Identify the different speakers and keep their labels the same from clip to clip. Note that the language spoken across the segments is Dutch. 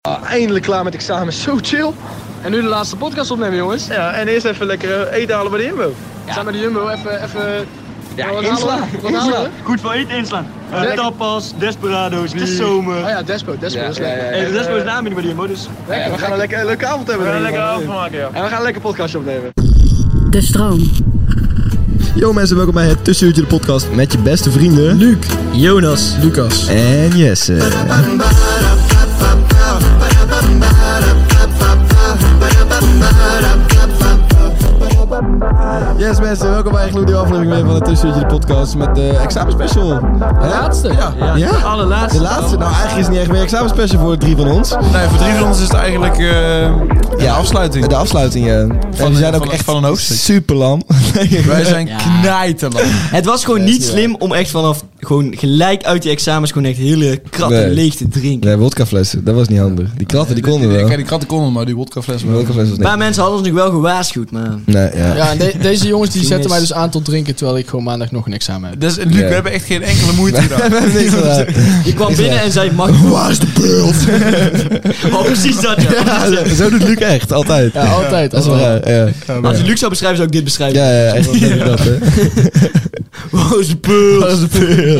Speaker 1: Ah, eindelijk klaar met examen, zo chill.
Speaker 2: En nu de laatste podcast opnemen, jongens.
Speaker 1: Ja, en eerst even lekker eh, eten halen bij de Jumbo.
Speaker 2: Ja. Zijn bij de Jumbo even... even... wat halen we? Wat halen we?
Speaker 3: Goed voor eten inslaan. Eh,
Speaker 2: Lekker.
Speaker 3: tapas, desperados, het is zomer.
Speaker 2: Oh ja, Despo, Despo,
Speaker 1: Ja,
Speaker 2: dat is
Speaker 1: ja,
Speaker 2: lekker.
Speaker 1: ja.
Speaker 3: Hey, de rest is naam niet bij die hoor, dus...
Speaker 1: Lekker, we gaan een lekker, een leuke avond hebben.
Speaker 3: We gaan een
Speaker 1: denk ik,
Speaker 3: lekkere
Speaker 1: man.
Speaker 3: avond maken, ja.
Speaker 1: En we gaan een lekker podcastje opnemen.
Speaker 4: De stroom.
Speaker 5: Yo mensen, welkom bij het Tussenuurtje de podcast met je beste vrienden Luc, Jonas, Lucas en Jesse. Yes mensen, welkom bij een gloednieuwe aflevering weer van het Tussenuurtje de podcast met de examenspecial. De laatste? Ja. ja. De allerlaatste. De laatste? Nou eigenlijk is het niet echt meer examenspecial voor de drie van ons.
Speaker 6: Nee, voor drie van ons is het eigenlijk eh, de afsluiting.
Speaker 5: De afsluiting ja. en
Speaker 6: een-
Speaker 5: we zijn ook
Speaker 6: van-
Speaker 5: echt
Speaker 6: van een hoofdstuk.
Speaker 5: Super lam.
Speaker 6: Wij zijn knijterland.
Speaker 7: Het was gewoon
Speaker 5: is
Speaker 7: niet
Speaker 5: niet
Speaker 7: slim om echt vanaf gewoon gelijk uit die examens gewoon echt hele kratten
Speaker 5: Nee.
Speaker 7: leeg te drinken.
Speaker 5: Nee, wodkaflessen. Dat was niet handig. Die klatten, die konden wel.
Speaker 6: Kijk, die kratten konden, maar die wodkafles
Speaker 5: Maar
Speaker 6: wel.
Speaker 5: wodkafles was
Speaker 7: Een
Speaker 5: niet.
Speaker 7: paar mensen hadden ons nog wel gewaarschuwd, maar...
Speaker 5: Nee, ja.
Speaker 2: Ja, en de- deze jongens die
Speaker 7: Toen
Speaker 2: zetten
Speaker 7: is-
Speaker 2: mij dus aan tot drinken, terwijl ik gewoon maandag nog een examen heb.
Speaker 6: Dus Luc,
Speaker 5: Ja.
Speaker 6: we hebben echt geen enkele moeite
Speaker 5: We
Speaker 6: gedaan.
Speaker 5: hebben niks gedaan.
Speaker 7: Je kwam
Speaker 5: Is
Speaker 7: binnen
Speaker 5: waar.
Speaker 7: en zei, mag ik nog?
Speaker 5: Waar is de beeld?
Speaker 7: Oh, precies dat, ja.
Speaker 5: Ja, zo doet Luc echt, altijd.
Speaker 2: Ja, altijd.
Speaker 5: Dat is wel
Speaker 2: altijd.
Speaker 5: raar, ja.
Speaker 7: Als je Luc zou beschrijven, zou ik dit beschrijven.
Speaker 5: Ja, ja, echt dat, dat, hè.
Speaker 7: Wow, is een beul.
Speaker 5: Waar is de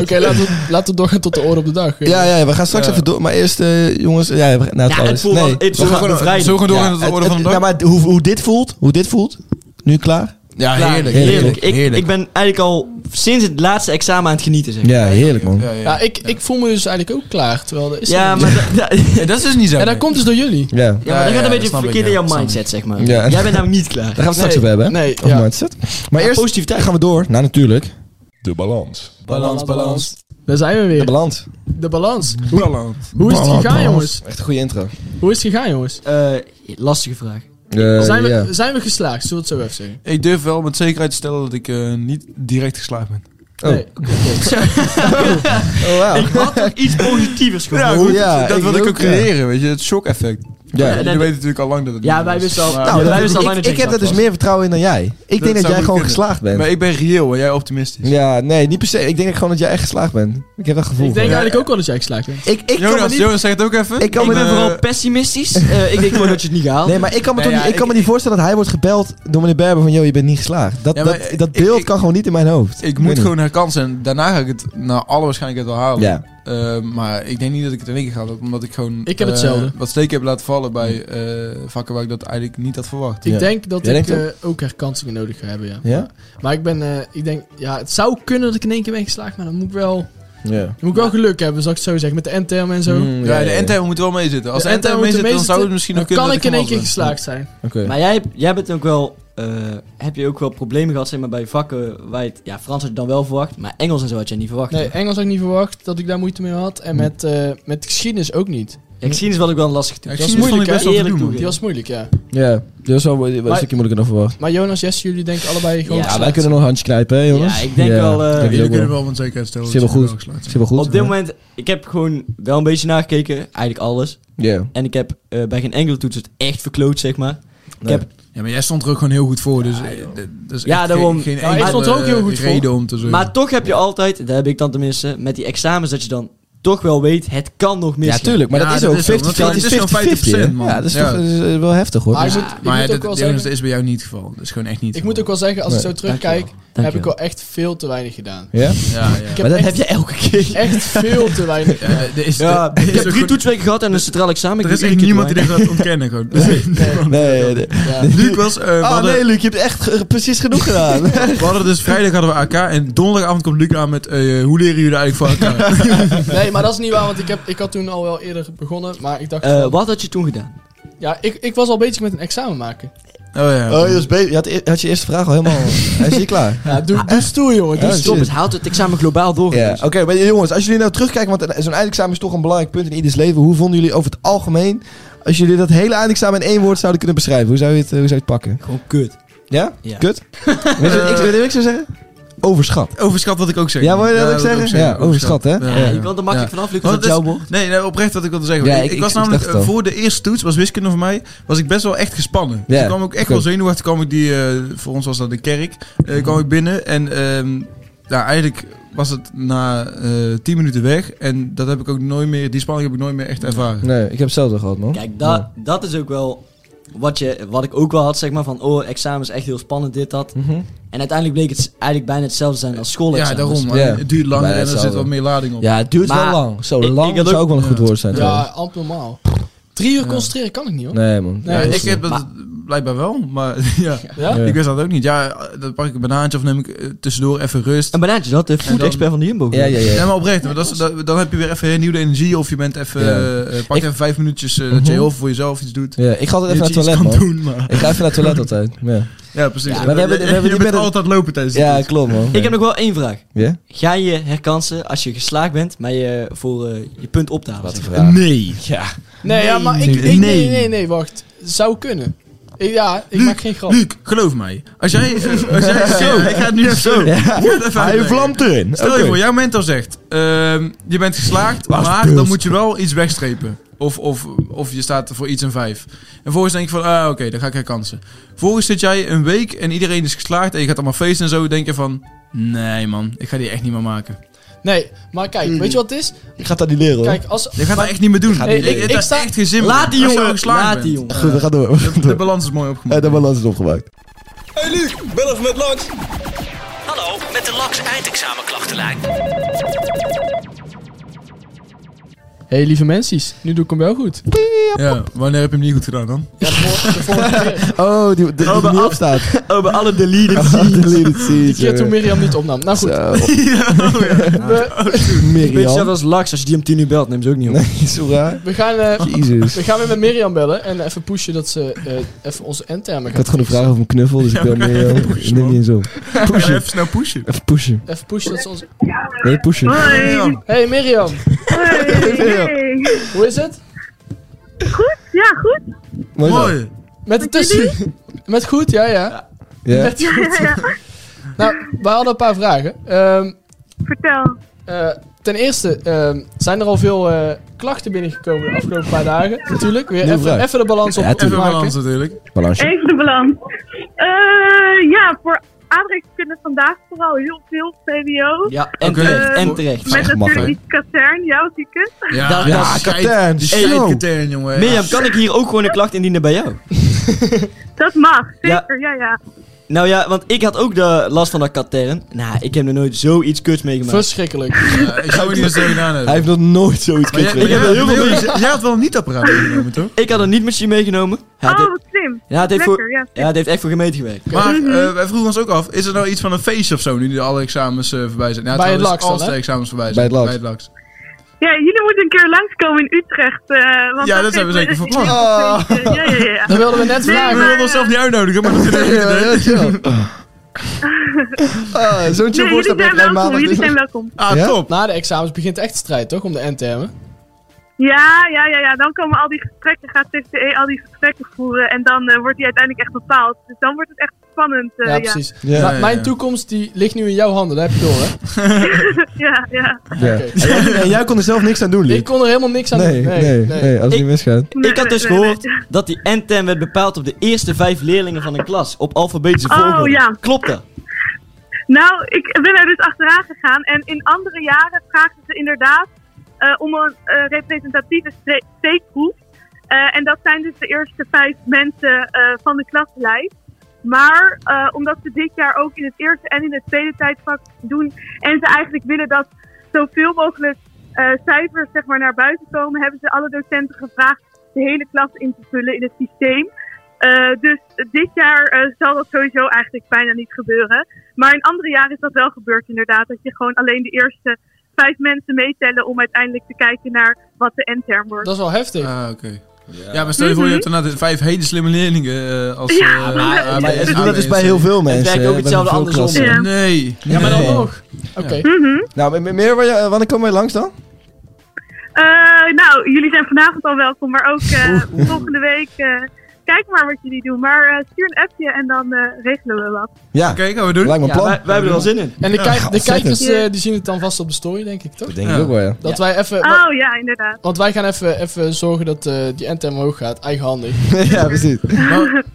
Speaker 2: Oké,
Speaker 5: beeld?
Speaker 2: laten, we, laten we doorgaan tot de oren op de dag.
Speaker 5: Ja, ja, we gaan straks even door. Maar eerst, eh, jongens... Ja, we gaan- nou,
Speaker 7: Ja, het
Speaker 5: trouwens.
Speaker 7: voelt wel... Het
Speaker 6: Zullen we gewoon-
Speaker 7: bevrijdend.
Speaker 6: zullen we gewoon door
Speaker 7: Ja.
Speaker 6: in het orde van de
Speaker 5: Ja, nou,
Speaker 6: dag?
Speaker 5: maar hoe, hoe dit voelt, hoe dit voelt, nu klaar?
Speaker 6: Ja,
Speaker 7: Klaar.
Speaker 6: heerlijk.
Speaker 7: Heerlijk. Ik, ik ben eigenlijk al sinds het laatste examen aan het genieten, zeg.
Speaker 5: Ja, heerlijk, man.
Speaker 6: Ja,
Speaker 2: Ja,
Speaker 6: ja.
Speaker 2: ik, ik voel me dus eigenlijk ook klaar, terwijl dat is
Speaker 7: Ja,
Speaker 2: er niet.
Speaker 7: maar... da- da-
Speaker 6: Ja, dat is dus niet zo.
Speaker 2: En dat komt dus door jullie.
Speaker 5: Ja.
Speaker 7: Ja, maar
Speaker 6: Ja,
Speaker 7: dat gaat
Speaker 6: ja,
Speaker 7: een
Speaker 6: dat
Speaker 7: beetje
Speaker 6: snap ik, ja.
Speaker 7: verkeerd in jouw
Speaker 6: Dat snap
Speaker 7: mindset, zeg maar.
Speaker 5: Ja.
Speaker 7: Jij bent namelijk niet klaar.
Speaker 5: Daar gaan we straks
Speaker 2: Nee,
Speaker 5: over hebben, hè?
Speaker 2: nee,
Speaker 5: Over
Speaker 2: ja.
Speaker 5: mindset. Maar
Speaker 7: Ja,
Speaker 5: eerst
Speaker 7: positiviteit.
Speaker 5: gaan we door. Nou, natuurlijk.
Speaker 6: Balans, balans.
Speaker 2: Daar zijn we
Speaker 5: De
Speaker 2: weer.
Speaker 5: balans.
Speaker 2: De balans. Hoe is het gegaan, jongens?
Speaker 5: Echt een goede intro.
Speaker 2: Hoe is het gegaan, jongens?
Speaker 7: Eh, lastige vraag.
Speaker 5: Eh,
Speaker 2: Zijn
Speaker 5: ja.
Speaker 2: we, zijn we geslaagd? Zullen we het zo even zeggen?
Speaker 6: Ik durf wel met zekerheid te stellen dat ik eh, niet direct geslaagd ben.
Speaker 5: Oh.
Speaker 2: Nee.
Speaker 5: Oh, wauw.
Speaker 7: Ik had toch iets positievers gewoon.
Speaker 5: Ja, goed, ja,
Speaker 6: dat
Speaker 5: ik
Speaker 6: wil ik
Speaker 5: ook,
Speaker 6: ook
Speaker 5: ja.
Speaker 6: creëren, weet je. Het shock-effect.
Speaker 5: Ja.
Speaker 2: Nou,
Speaker 6: Jullie
Speaker 7: dat-
Speaker 6: weten natuurlijk al lang dat het
Speaker 7: Ja,
Speaker 6: niet
Speaker 7: wij
Speaker 6: is.
Speaker 7: wisten al-
Speaker 6: Maar-
Speaker 7: Nou,
Speaker 5: Nou,
Speaker 7: Ja,
Speaker 5: dat-
Speaker 7: wij wisten al
Speaker 5: ik,
Speaker 7: bijna
Speaker 5: ik
Speaker 7: zeker
Speaker 5: heb
Speaker 7: dat
Speaker 5: daar dus
Speaker 7: was.
Speaker 5: meer vertrouwen in dan jij. Ik
Speaker 6: Dat
Speaker 5: denk dat
Speaker 6: zou
Speaker 5: jij
Speaker 6: goed
Speaker 5: gewoon
Speaker 6: kunnen.
Speaker 5: geslaagd bent.
Speaker 6: Maar ik ben reëel en jij optimistisch.
Speaker 5: Ja, nee, niet per se. Ik denk gewoon dat jij echt geslaagd bent. Ik heb dat gevoel.
Speaker 2: Ik denk
Speaker 5: van.
Speaker 2: eigenlijk ook wel dat jij geslaagd bent.
Speaker 5: ik, ik kan me
Speaker 6: Jonas,
Speaker 5: niet...
Speaker 6: Jonas, zeg het ook even. eh,
Speaker 5: Ik kan
Speaker 7: Ik
Speaker 5: me
Speaker 7: ben
Speaker 5: niet-
Speaker 7: vooral pessimistisch. Eh, ik denk gewoon dat je het niet gehaald
Speaker 5: Nee, maar ik kan me,
Speaker 6: Nee,
Speaker 5: toch
Speaker 6: ja,
Speaker 5: niet, ik kan
Speaker 6: ik-
Speaker 5: me niet voorstellen dat hij wordt gebeld door meneer Berber van... ...joh, je bent niet geslaagd. Dat,
Speaker 6: Ja, maar
Speaker 5: dat,
Speaker 6: ik-
Speaker 5: dat beeld
Speaker 6: ik-
Speaker 5: kan gewoon niet in mijn hoofd.
Speaker 6: Ik
Speaker 5: weet
Speaker 6: moet
Speaker 5: niet.
Speaker 6: gewoon herkansen en daarna ga ik het naar alle waarschijnlijkheid wel halen.
Speaker 5: Ja.
Speaker 6: Eh, maar ik denk niet dat ik het in één keer ga doen, omdat ik gewoon...
Speaker 2: Ik heb
Speaker 6: eh,
Speaker 2: hetzelfde.
Speaker 6: wat steken heb laten vallen bij eh, vakken waar ik dat eigenlijk niet had verwacht.
Speaker 2: Ik
Speaker 5: Ja.
Speaker 2: denk dat
Speaker 5: Jij
Speaker 2: ik
Speaker 5: denkt
Speaker 2: eh, ook herkansingen nodig ga hebben, ja.
Speaker 5: Ja?
Speaker 2: Maar ik ben, eh, ik denk, ja, het zou kunnen dat ik in één keer ben geslaagd, maar dan moet ik wel, dan
Speaker 5: Ja.
Speaker 2: moet ik wel geluk hebben, zal ik het zo zeggen, met de NTM en zo.
Speaker 5: Mm,
Speaker 6: Ja, de NTM moet wel meezitten. Als de,
Speaker 2: NTM
Speaker 6: NTM
Speaker 2: moet er
Speaker 6: meezit,
Speaker 2: mee
Speaker 6: dan zou
Speaker 2: zitten,
Speaker 6: het misschien nog
Speaker 2: dan
Speaker 6: kunnen
Speaker 2: kan ik
Speaker 6: dat
Speaker 2: in één keer
Speaker 6: gehaald ben.
Speaker 2: geslaagd zijn.
Speaker 5: Oké.
Speaker 7: Maar jij, jij bent ook wel, eh, heb je ook wel problemen gehad zeg maar, bij vakken waar je het, ja, Frans had je dan wel verwacht, maar Engels en zo had je niet verwacht.
Speaker 2: Nee, Engels had ik niet verwacht dat ik daar moeite mee had. En met, eh, met geschiedenis ook niet.
Speaker 7: Ja, geschiedenis wat ik wel lastig toe.
Speaker 6: Ja,
Speaker 2: Dat is
Speaker 6: geschiedenis vond
Speaker 2: moeilijk,
Speaker 6: ik best
Speaker 2: hè?
Speaker 6: wel te
Speaker 7: Eerlijk
Speaker 6: doen.
Speaker 2: Die
Speaker 6: man.
Speaker 2: was moeilijk, ja.
Speaker 5: Ja, dat is wel wel een
Speaker 2: Maar-
Speaker 5: stukje moeilijker dan verwacht.
Speaker 2: Maar Jonas, Jesse, jullie denken allebei gewoon
Speaker 7: Ja,
Speaker 5: Ja,
Speaker 2: geslaagd.
Speaker 5: wij kunnen nog een handje knijpen, hè, jongens?
Speaker 7: Ja, ik denk wel, eh,
Speaker 5: ik denk
Speaker 6: Jullie
Speaker 5: ook wel.
Speaker 6: kunnen wel met zekerheid stellen
Speaker 5: Zit
Speaker 6: dat
Speaker 5: wel
Speaker 6: jullie
Speaker 5: goed.
Speaker 6: wel geslaagd
Speaker 5: Zit wel goed.
Speaker 7: Op dit moment, ik heb gewoon wel een beetje nagekeken, eigenlijk alles.
Speaker 5: Ja.
Speaker 7: En ik heb eh, bij geen enkele toets het echt verkloot, zeg maar.
Speaker 5: Nee.
Speaker 7: Ik heb,
Speaker 6: zijn. Ja, maar jij stond er ook gewoon heel goed voor, dus... eh, d- dat is
Speaker 7: Ja,
Speaker 6: echt
Speaker 7: daarom.
Speaker 6: Geen,
Speaker 2: Ja, Nou, hij
Speaker 6: enkele
Speaker 2: stond er ook heel goed voor.
Speaker 6: reden om te zeggen.
Speaker 7: maar toch heb je altijd, dat heb ik dan tenminste, met die examens dat je dan toch wel weet, het kan nog
Speaker 5: Ja,
Speaker 7: misgaan.
Speaker 5: tuurlijk, maar
Speaker 6: Ja,
Speaker 5: dat is
Speaker 6: dat
Speaker 5: ook
Speaker 6: is zo,
Speaker 5: 50
Speaker 6: want het is zo'n
Speaker 5: 50
Speaker 6: 50%, man.
Speaker 5: Ja, dat is toch
Speaker 6: Ja.
Speaker 5: dat is, eh, wel heftig, hoor.
Speaker 2: Maar
Speaker 5: Dus-
Speaker 2: ik moet, ik
Speaker 6: Maar
Speaker 2: moet
Speaker 6: dat,
Speaker 2: ook wel
Speaker 6: Jonas,
Speaker 2: zeggen,
Speaker 6: dat is bij jou niet het geval. Dat is gewoon echt niet
Speaker 2: ik moet ook wel zeggen, als ik
Speaker 5: Nee,
Speaker 2: zo terugkijk, heb ik
Speaker 4: Dankjewel.
Speaker 2: wel echt veel te weinig gedaan.
Speaker 5: Ja?
Speaker 6: Ja, ja.
Speaker 2: Ik
Speaker 4: Maar dat
Speaker 2: echt,
Speaker 4: heb je elke keer.
Speaker 2: echt veel te weinig gedaan.
Speaker 6: Ja, er is,
Speaker 7: Ja,
Speaker 6: er is
Speaker 7: ik heb
Speaker 6: ook
Speaker 7: drie
Speaker 6: gewoon-
Speaker 7: toetsweken gehad en een centraal examen.
Speaker 6: Er is echt niemand die dit gaat ontkennen gewoon.
Speaker 5: Nee, nee.
Speaker 2: Ja.
Speaker 6: Luc was... eh, we
Speaker 5: Ah
Speaker 6: hadden-
Speaker 5: nee, Luc, je hebt echt eh, precies genoeg gedaan.
Speaker 6: We hadden dus vrijdag hadden we AK en donderdagavond komt Luc aan met eh, hoe leren jullie eigenlijk van Oh elkaar?
Speaker 2: Nee, maar dat is niet waar, want ik, heb, ik had toen al wel eerder begonnen. Maar ik dacht,
Speaker 7: Eh,
Speaker 2: van-
Speaker 7: wat had je toen gedaan?
Speaker 2: ja, ik, ik was al bezig met een examen maken.
Speaker 6: Oh ja.
Speaker 5: Oh, je, was bezig- je had, e- had je eerste vraag al helemaal... Hij is hier klaar.
Speaker 2: Ja, doe, doe stoer, jongen. Dus- Doe
Speaker 5: Ja,
Speaker 2: stoer.
Speaker 7: Stop, het haalt het examen globaal door.
Speaker 5: Ja,
Speaker 7: jongens.
Speaker 5: oké, maar jongens, als jullie nou terugkijken, want zo'n eindexamen is toch een belangrijk punt in ieders leven. Hoe vonden jullie over het algemeen, als jullie dat hele eindexamen in één woord zouden kunnen beschrijven, hoe zou je het, eh, hoe zou je het pakken?
Speaker 7: Gewoon kut.
Speaker 5: Ja?
Speaker 7: Ja.
Speaker 5: Kut? Weet je wat ik- weet je wat ik zou zeggen? Overschat.
Speaker 6: Overschat wat ik ook zeg.
Speaker 5: Ja, wil je dat ook zeggen? Ja, overschat, hè?
Speaker 7: Ja, je kan er makkelijk vanaf, Luc, als
Speaker 6: Want
Speaker 7: het jouw
Speaker 6: is-
Speaker 7: wordt.
Speaker 6: Nee, nee, oprecht wat ik wilde zeggen.
Speaker 5: Ja,
Speaker 6: ik,
Speaker 5: ik-
Speaker 6: ik was
Speaker 5: ik
Speaker 6: namelijk
Speaker 5: dacht het
Speaker 6: eh,
Speaker 5: al.
Speaker 6: voor de eerste toets, was wiskunde voor mij, was ik best wel echt gespannen.
Speaker 5: Ja,
Speaker 6: Toen kwam ik echt
Speaker 5: oké.
Speaker 6: wel zenuwachtig, kwam ik die, eh, voor ons was dat de kerk,
Speaker 5: Mhm.
Speaker 6: eh, kwam ik binnen en ehm, ja, eigenlijk was het na eh, tien minuten weg en dat heb ik ook nooit meer, die spanning heb ik nooit meer echt ervaren.
Speaker 5: Nee, ik heb hetzelfde gehad, man.
Speaker 7: Kijk, da- dat is ook wel wat, je, wat ik ook wel had, zeg maar, van oh, examen is echt heel spannend, dit, dat.
Speaker 5: Mhm.
Speaker 7: En uiteindelijk bleek het eigenlijk bijna hetzelfde zijn als Dus schoolexamen.
Speaker 6: Ja, daarom.
Speaker 5: Ja.
Speaker 6: Het duurt langer
Speaker 5: Bijna
Speaker 6: en er zit
Speaker 5: hetzelfde.
Speaker 6: wat meer lading op.
Speaker 5: Ja, het duurt
Speaker 7: Maar-
Speaker 5: wel lang. Zo
Speaker 7: Ik- ik
Speaker 5: lang
Speaker 7: had
Speaker 5: zou
Speaker 7: ook-
Speaker 5: ook wel een goed woord zijn.
Speaker 2: Ja,
Speaker 5: trouwens.
Speaker 2: amper normaal. Drie uur concentreren kan ik niet, hoor.
Speaker 5: Nee, man.
Speaker 2: Nee,
Speaker 6: Ja,
Speaker 5: Ja,
Speaker 6: ik heb
Speaker 7: Maar-
Speaker 6: dat blijkbaar wel, maar ja.
Speaker 2: Ja?
Speaker 5: Ja.
Speaker 6: Ik wist dat ook niet. Ja, dan pak ik een banaantje of neem ik eh, tussendoor even rust.
Speaker 7: Een banaantje, dat de food expert van de Jumbo.
Speaker 5: Ja, ja, ja.
Speaker 6: Ja, maar oprecht. Maar dat is, dat- dan heb je weer even hernieuwde energie. Of je bent even,
Speaker 5: Ja. Mhm.
Speaker 6: eh, eh, pak
Speaker 7: Ik-
Speaker 6: even vijf minuutjes eh, dat je heel veel voor jezelf iets doet.
Speaker 5: Ja, ik ga altijd even
Speaker 6: dat
Speaker 5: naar
Speaker 6: je
Speaker 5: het
Speaker 6: iets
Speaker 5: toilet,
Speaker 6: kan
Speaker 5: man.
Speaker 6: doen. Maar.
Speaker 5: Ik ga even naar het toilet altijd. Ja,
Speaker 6: Ja, precies.
Speaker 5: maar we hebben- we
Speaker 6: je
Speaker 5: hebben die
Speaker 6: bent
Speaker 5: met-
Speaker 6: altijd lopen tijdens de
Speaker 5: ja
Speaker 6: toets.
Speaker 5: klopt, man.
Speaker 7: Ik heb nog wel één vraag.
Speaker 5: Ja?
Speaker 7: Ga je herkansen als je geslaagd bent, maar je voor eh, je punt op te halen?
Speaker 5: Wat een
Speaker 7: zeg
Speaker 5: vraag.
Speaker 6: Nee.
Speaker 2: Nee, ja, maar ik, ik- nee. nee, nee, wacht. Zou kunnen. Ik- ja, ik maak geen grap.
Speaker 6: Luc, geloof mij. Als jij... eh, als jij zo. Ik ga het nu zo. Moet het even
Speaker 5: Hij
Speaker 6: uitleggen.
Speaker 5: vlamt erin.
Speaker 6: Stel je voor, jouw mentor zegt... ehm, je bent geslaagd,
Speaker 5: Waar is het
Speaker 6: maar
Speaker 5: beeld?
Speaker 6: dan moet je wel iets wegstrepen. Of, of, of je staat voor iets een vijf. En vervolgens denk je van, ah oké, dan ga ik herkansen. Vervolgens zit jij een week en iedereen is geslaagd... en je gaat allemaal feesten en zo, denk je van... Nee man, ik ga die echt niet meer maken.
Speaker 2: Nee, maar kijk, weet je wat het is?
Speaker 5: Ik ga dat niet leren, hoor.
Speaker 2: Kijk, als...
Speaker 6: Je gaat dat echt niet meer doen.
Speaker 2: Nee, ik-
Speaker 6: ik,
Speaker 2: ik sta-
Speaker 6: sta echt geen zin
Speaker 7: maar.
Speaker 6: meer.
Speaker 7: Laat die
Speaker 6: Als je
Speaker 7: jongen,
Speaker 6: geslaagd
Speaker 7: laat
Speaker 6: bent.
Speaker 7: die jongen.
Speaker 5: Goed, we gaan door. we gaan
Speaker 6: De
Speaker 5: door.
Speaker 6: balans is mooi
Speaker 5: Eh,
Speaker 6: opgemaakt.
Speaker 5: de balans is opgemaakt.
Speaker 4: Hallo, met de LAX eindexamenklachtenlijn.
Speaker 2: hey, lieve mensen, nu doe ik hem wel goed.
Speaker 6: Ja, wanneer heb je hem niet goed gedaan dan?
Speaker 2: Ja, de vor- de vorige keer-
Speaker 5: Oh, die, die, die, die niet opstaat.
Speaker 7: Oh, bij alle deleted
Speaker 5: Oh, delete
Speaker 2: die
Speaker 5: seats,
Speaker 2: keer toen
Speaker 5: jongen.
Speaker 2: Mirjam niet opnam. Nou goed,
Speaker 5: Zo,
Speaker 2: we,
Speaker 7: Beetje zelf
Speaker 5: Mirjam.
Speaker 7: als Laks, als je die om tien uur belt, neemt ze ook niet op.
Speaker 5: Nee, zo raar.
Speaker 2: we, gaan, eh,
Speaker 5: Jezus.
Speaker 2: we gaan weer met Mirjam bellen en even pushen dat ze eh, even onze endtermen
Speaker 5: Ik
Speaker 2: gaat
Speaker 5: had gewoon een vraag over een knuffel, dus ik
Speaker 6: Ja,
Speaker 5: ben
Speaker 6: maar
Speaker 5: Mirjam.
Speaker 6: even pushen,
Speaker 5: Neem
Speaker 6: man.
Speaker 5: niet eens op.
Speaker 6: Ja,
Speaker 5: Pushen.
Speaker 6: even snel pushen.
Speaker 5: Even pushen.
Speaker 2: Even pushen dat ze ons...
Speaker 5: Nee, pushen.
Speaker 6: Ja.
Speaker 2: Hey Mirjam, hoe is het?
Speaker 8: Ja, goed.
Speaker 5: Mooi. zo.
Speaker 6: Mooi.
Speaker 2: Met de tussen... Met goed, ja, ja.
Speaker 5: Ja.
Speaker 8: Ja, ja, ja.
Speaker 2: Nou, we hadden een paar vragen. Ehm,
Speaker 8: Vertel.
Speaker 2: eh, ten eerste, ehm, zijn er al veel eh, klachten binnengekomen de afgelopen paar dagen? Natuurlijk, weer
Speaker 5: Nieuwe
Speaker 2: even,
Speaker 5: vraag.
Speaker 2: even de balans op,
Speaker 5: Ja,
Speaker 6: Even
Speaker 2: opmaken.
Speaker 6: balans natuurlijk.
Speaker 5: Balansje.
Speaker 8: Even de balans. Eh, ja, voor aardrijkskunde vandaag vooral heel veel VWO.
Speaker 7: Ja, en
Speaker 6: Oké.
Speaker 7: terecht.
Speaker 8: Eh,
Speaker 7: En terecht.
Speaker 8: Met
Speaker 5: Mag,
Speaker 8: natuurlijk
Speaker 5: hè?
Speaker 8: die katern, jouw zieken.
Speaker 6: Ja,
Speaker 7: Ja,
Speaker 6: die scheid-
Speaker 5: Katern,
Speaker 6: Die
Speaker 5: show.
Speaker 6: scheidkatern, jongen.
Speaker 7: Mirjam, kan ik hier ook gewoon een klacht indienen bij jou?
Speaker 8: Dat mag,
Speaker 7: Ja.
Speaker 8: zeker, ja, ja.
Speaker 7: Nou ja, want ik had ook de last van dat katern. Nou, ik heb nog nooit zoiets kuts meegemaakt.
Speaker 2: Verschrikkelijk.
Speaker 6: Ja, ik zou het niet eens zo gedaan
Speaker 5: Hij
Speaker 6: hebben.
Speaker 5: heeft nog nooit zoiets
Speaker 6: Maar
Speaker 5: kunnen
Speaker 6: jij, jij,
Speaker 7: heb heel
Speaker 6: jij-
Speaker 7: veel-
Speaker 6: jij- jij had wel niet apparaat ingenomen, toch?
Speaker 7: Ik had een niet-machine meegenomen. Ja, het
Speaker 8: oh,
Speaker 7: heeft-
Speaker 8: wat slim.
Speaker 7: ja, het heeft
Speaker 8: Lekker,
Speaker 7: voor-
Speaker 8: ja.
Speaker 7: ja, het heeft echt voor gemeente gewerkt.
Speaker 6: Maar eh, wij vroegen ons ook af, is er nou iets van een feestje of zo nu die alle examens eh, voorbij zijn? Ja,
Speaker 2: Bij het
Speaker 6: trouwens,
Speaker 2: LAX dan,
Speaker 6: als de
Speaker 2: hè?
Speaker 6: examens
Speaker 5: Bij
Speaker 6: voorbij zijn.
Speaker 5: het LAX.
Speaker 6: LAX.
Speaker 8: Ja, jullie moeten een keer langskomen in Utrecht. eh, want
Speaker 6: Ja, dat zijn we
Speaker 8: geeft-
Speaker 6: zeker van plan.
Speaker 8: Ja, ja, ja. ja.
Speaker 2: Dat wilden we net
Speaker 6: We
Speaker 2: vragen.
Speaker 8: maar-
Speaker 6: wilden onszelf niet uitnodigen, maar dat kunnen we niet doen.
Speaker 5: Ah, Zo'n chill
Speaker 8: Nee, jullie
Speaker 5: voorstel
Speaker 8: zijn
Speaker 5: heb jij
Speaker 8: welkom, jullie zijn
Speaker 5: maandag.
Speaker 8: welkom.
Speaker 6: Ah,
Speaker 5: Ja?
Speaker 6: top.
Speaker 2: Na de examens begint echt de strijd, toch? Om de endtermen.
Speaker 8: Ja, ja, ja, ja, dan komen al die gesprekken, gaat TCE al die gesprekken voeren en dan eh, wordt die uiteindelijk echt bepaald. Dus dan wordt het echt spannend. eh,
Speaker 2: Ja,
Speaker 8: ja.
Speaker 2: precies.
Speaker 5: Ja,
Speaker 2: Maar
Speaker 6: ja,
Speaker 2: Mijn
Speaker 6: ja.
Speaker 2: toekomst die ligt nu in jouw handen, dat heb je door, hè?
Speaker 8: ja, ja.
Speaker 5: Ja.
Speaker 2: Oké.
Speaker 5: En jij kon er zelf niks aan doen,
Speaker 2: Ik
Speaker 5: Luc.
Speaker 2: kon er helemaal niks aan
Speaker 5: Nee,
Speaker 2: doen.
Speaker 5: nee, nee. Als het
Speaker 7: Ik-
Speaker 5: niet misgaat.
Speaker 7: Ik had dus
Speaker 8: Nee, nee,
Speaker 7: gehoord dat die endterm werd bepaald op de eerste vijf leerlingen van een klas. Op alfabetische
Speaker 8: Oh,
Speaker 7: volgorde.
Speaker 8: ja.
Speaker 7: Klopt dat?
Speaker 8: Nou, ik ben er dus achteraan gegaan. En in andere jaren vragen ze inderdaad eh, om een eh, representatieve stre- steekproef. Eh, en dat zijn dus de eerste vijf mensen eh, van de klaslijst. Maar eh, omdat ze dit jaar ook in het eerste en in het tweede tijdvak doen. En ze eigenlijk willen dat zoveel mogelijk eh, cijfers zeg maar, naar buiten komen. Hebben ze alle docenten gevraagd de hele klas in te vullen in het systeem. Eh, dus dit jaar eh, zal dat sowieso eigenlijk bijna niet gebeuren. Maar in andere jaren is dat wel gebeurd inderdaad. Dat je gewoon alleen de eerste vijf mensen meetellen om uiteindelijk te kijken naar wat de endterm wordt.
Speaker 2: Dat is wel heftig.
Speaker 6: Ah, oké. Ja. maar stel je voor, je hebt inderdaad vijf hele slimme leerlingen eh, als...
Speaker 8: Ja,
Speaker 6: eh,
Speaker 8: maar-
Speaker 6: eh,
Speaker 8: Maar
Speaker 6: bij
Speaker 5: ze doen dat
Speaker 6: ABS.
Speaker 5: dus bij heel veel mensen.
Speaker 7: werkt ook
Speaker 5: hè, bij
Speaker 7: hetzelfde
Speaker 5: veel
Speaker 7: andersom.
Speaker 5: klassen.
Speaker 8: Ja.
Speaker 6: Nee.
Speaker 2: ja, maar dan
Speaker 5: nee.
Speaker 2: nog. Oké.
Speaker 5: Nou, me- me- meer, waar je- wanneer komen wij langs dan?
Speaker 8: Eh, nou, jullie zijn vanavond al welkom, maar ook eh, volgende week. eh, kijk maar wat jullie doen. Maar eh, stuur een appje en dan eh, regelen we wat.
Speaker 5: Ja,
Speaker 6: Oké, gaan we doen.
Speaker 5: lijkt me een
Speaker 7: Ja,
Speaker 5: plan.
Speaker 7: wij, wij hebben er wel zin in.
Speaker 2: En de, kijk- de
Speaker 5: ontzettend.
Speaker 2: kijkers eh, die zien het dan vast op de story, denk ik, toch?
Speaker 5: Dat denk ik
Speaker 6: Ja.
Speaker 5: ook wel, ja.
Speaker 2: Dat wij even... wa-
Speaker 8: Oh ja, inderdaad.
Speaker 2: Want wij gaan even, even zorgen dat eh, die endtem omhoog gaat, eigenhandig.
Speaker 5: ja, precies.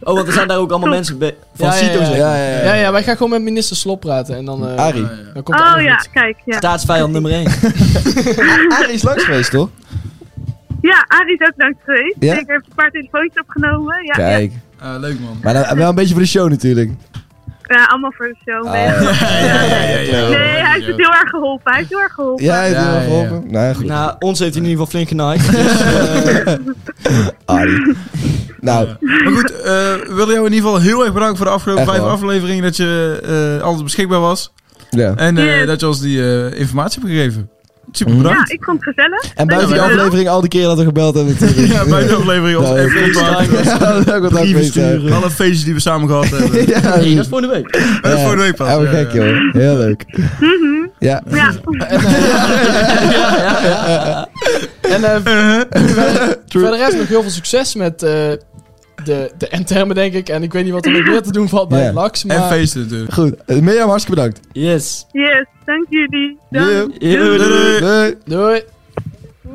Speaker 7: Oh, want er zijn daar ook allemaal mensen bij, van
Speaker 2: Ja, ja,
Speaker 7: CITO,
Speaker 2: ja.
Speaker 7: zeg.
Speaker 5: Ja, ja, ja.
Speaker 2: Ja, ja, wij gaan gewoon met minister Slop praten en dan... eh,
Speaker 5: Arie.
Speaker 2: Dan komt het
Speaker 8: Oh
Speaker 2: allemaal
Speaker 8: ja,
Speaker 2: goed.
Speaker 8: kijk. Ja,
Speaker 7: Staatsvijand nummer 1.
Speaker 5: Arie is langs geweest, toch?
Speaker 8: ja Arie is ook langs geweest.
Speaker 5: Ja?
Speaker 8: Ik heb een paar telefoontjes opgenomen. Ja, ja.
Speaker 5: Kijk.
Speaker 6: Ah, leuk, man.
Speaker 5: Maar nou, wel een beetje voor de show natuurlijk.
Speaker 8: Ja, allemaal voor de
Speaker 5: Ah.
Speaker 8: show. nee.
Speaker 6: Oh,
Speaker 8: nee, hij heeft het heel erg geholpen. Hij heeft heel erg geholpen.
Speaker 5: Ja, het
Speaker 6: Ja,
Speaker 5: ja,
Speaker 6: ja,
Speaker 5: geholpen. Nou, goed.
Speaker 7: Nou, ons heeft hij in ieder geval flink genaaid. Dus,
Speaker 5: Arie. Nou,
Speaker 6: Maar goed, eh we willen jou in ieder geval heel erg bedanken voor de afgelopen
Speaker 5: Echt
Speaker 6: vijf
Speaker 5: wel.
Speaker 6: afleveringen. Dat je eh, altijd beschikbaar was.
Speaker 5: ja.
Speaker 6: En eh,
Speaker 8: Yes.
Speaker 6: dat je ons die eh, informatie hebt gegeven. Super
Speaker 8: Ja,
Speaker 6: bedankt.
Speaker 8: ik vond het gezellig.
Speaker 5: En buiten die
Speaker 8: Dankjewel.
Speaker 5: aflevering al die keren dat we gebeld hebben natuurlijk.
Speaker 6: Ja, bij de aflevering ons
Speaker 5: Nou,
Speaker 6: even contact.
Speaker 5: Ja, dat ook wat
Speaker 7: Brieven
Speaker 5: afwezig.
Speaker 7: sturen.
Speaker 6: Alle feestjes die we samen gehad hebben.
Speaker 5: Ja,
Speaker 7: hey, dat is volgende week.
Speaker 6: Eh, Voor de week pas.
Speaker 5: Ja, maar
Speaker 6: ja,
Speaker 5: gek
Speaker 6: ja.
Speaker 5: joh. Heel leuk.
Speaker 7: Mhm.
Speaker 5: Ja.
Speaker 8: Ja.
Speaker 2: En eh,
Speaker 6: Eh,
Speaker 2: Verder rest nog heel veel succes met eh, de, de endtermen, denk ik. En ik weet niet wat er nog meer te doen valt bij
Speaker 5: Ja.
Speaker 2: het Lax. Maar
Speaker 6: En feesten natuurlijk.
Speaker 5: Goed. Eh, Mirjam, hartstikke bedankt.
Speaker 7: Yes.
Speaker 8: Yes, dank jullie. Dank.
Speaker 5: Doei.
Speaker 7: Doei, doei,
Speaker 6: Eh,
Speaker 7: doei.
Speaker 5: Doei.
Speaker 2: Doei.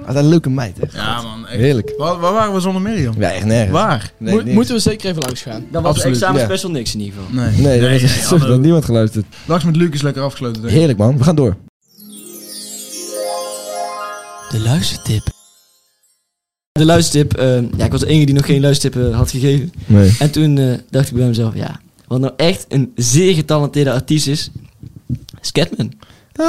Speaker 5: Wat een leuke meid, hè.
Speaker 6: Ja, man. echt.
Speaker 5: Heerlijk.
Speaker 6: Waar, waar waren we zonder Mirjam?
Speaker 5: Ja, echt nergens.
Speaker 6: Waar?
Speaker 5: Nee,
Speaker 2: Moet-
Speaker 5: niks.
Speaker 2: moeten we zeker even langs gaan.
Speaker 7: Dan was de
Speaker 6: Absoluut,
Speaker 7: examen
Speaker 5: ja.
Speaker 7: special niks in ieder geval.
Speaker 6: Nee.
Speaker 5: Nee, dat is
Speaker 6: nee,
Speaker 5: sorry, dat
Speaker 6: hallo.
Speaker 5: heeft niemand geluisterd.
Speaker 6: Laks met Luc is lekker afgesloten. denk ik.
Speaker 5: Heerlijk, man. We gaan door.
Speaker 7: De luistertip. De luistertip. eh, ja, ik was de enige die nog geen luistertip eh, had gegeven.
Speaker 5: Nee.
Speaker 7: En toen eh, dacht ik bij mezelf, ja, wat nou echt een zeer getalenteerde artiest is, is Catman.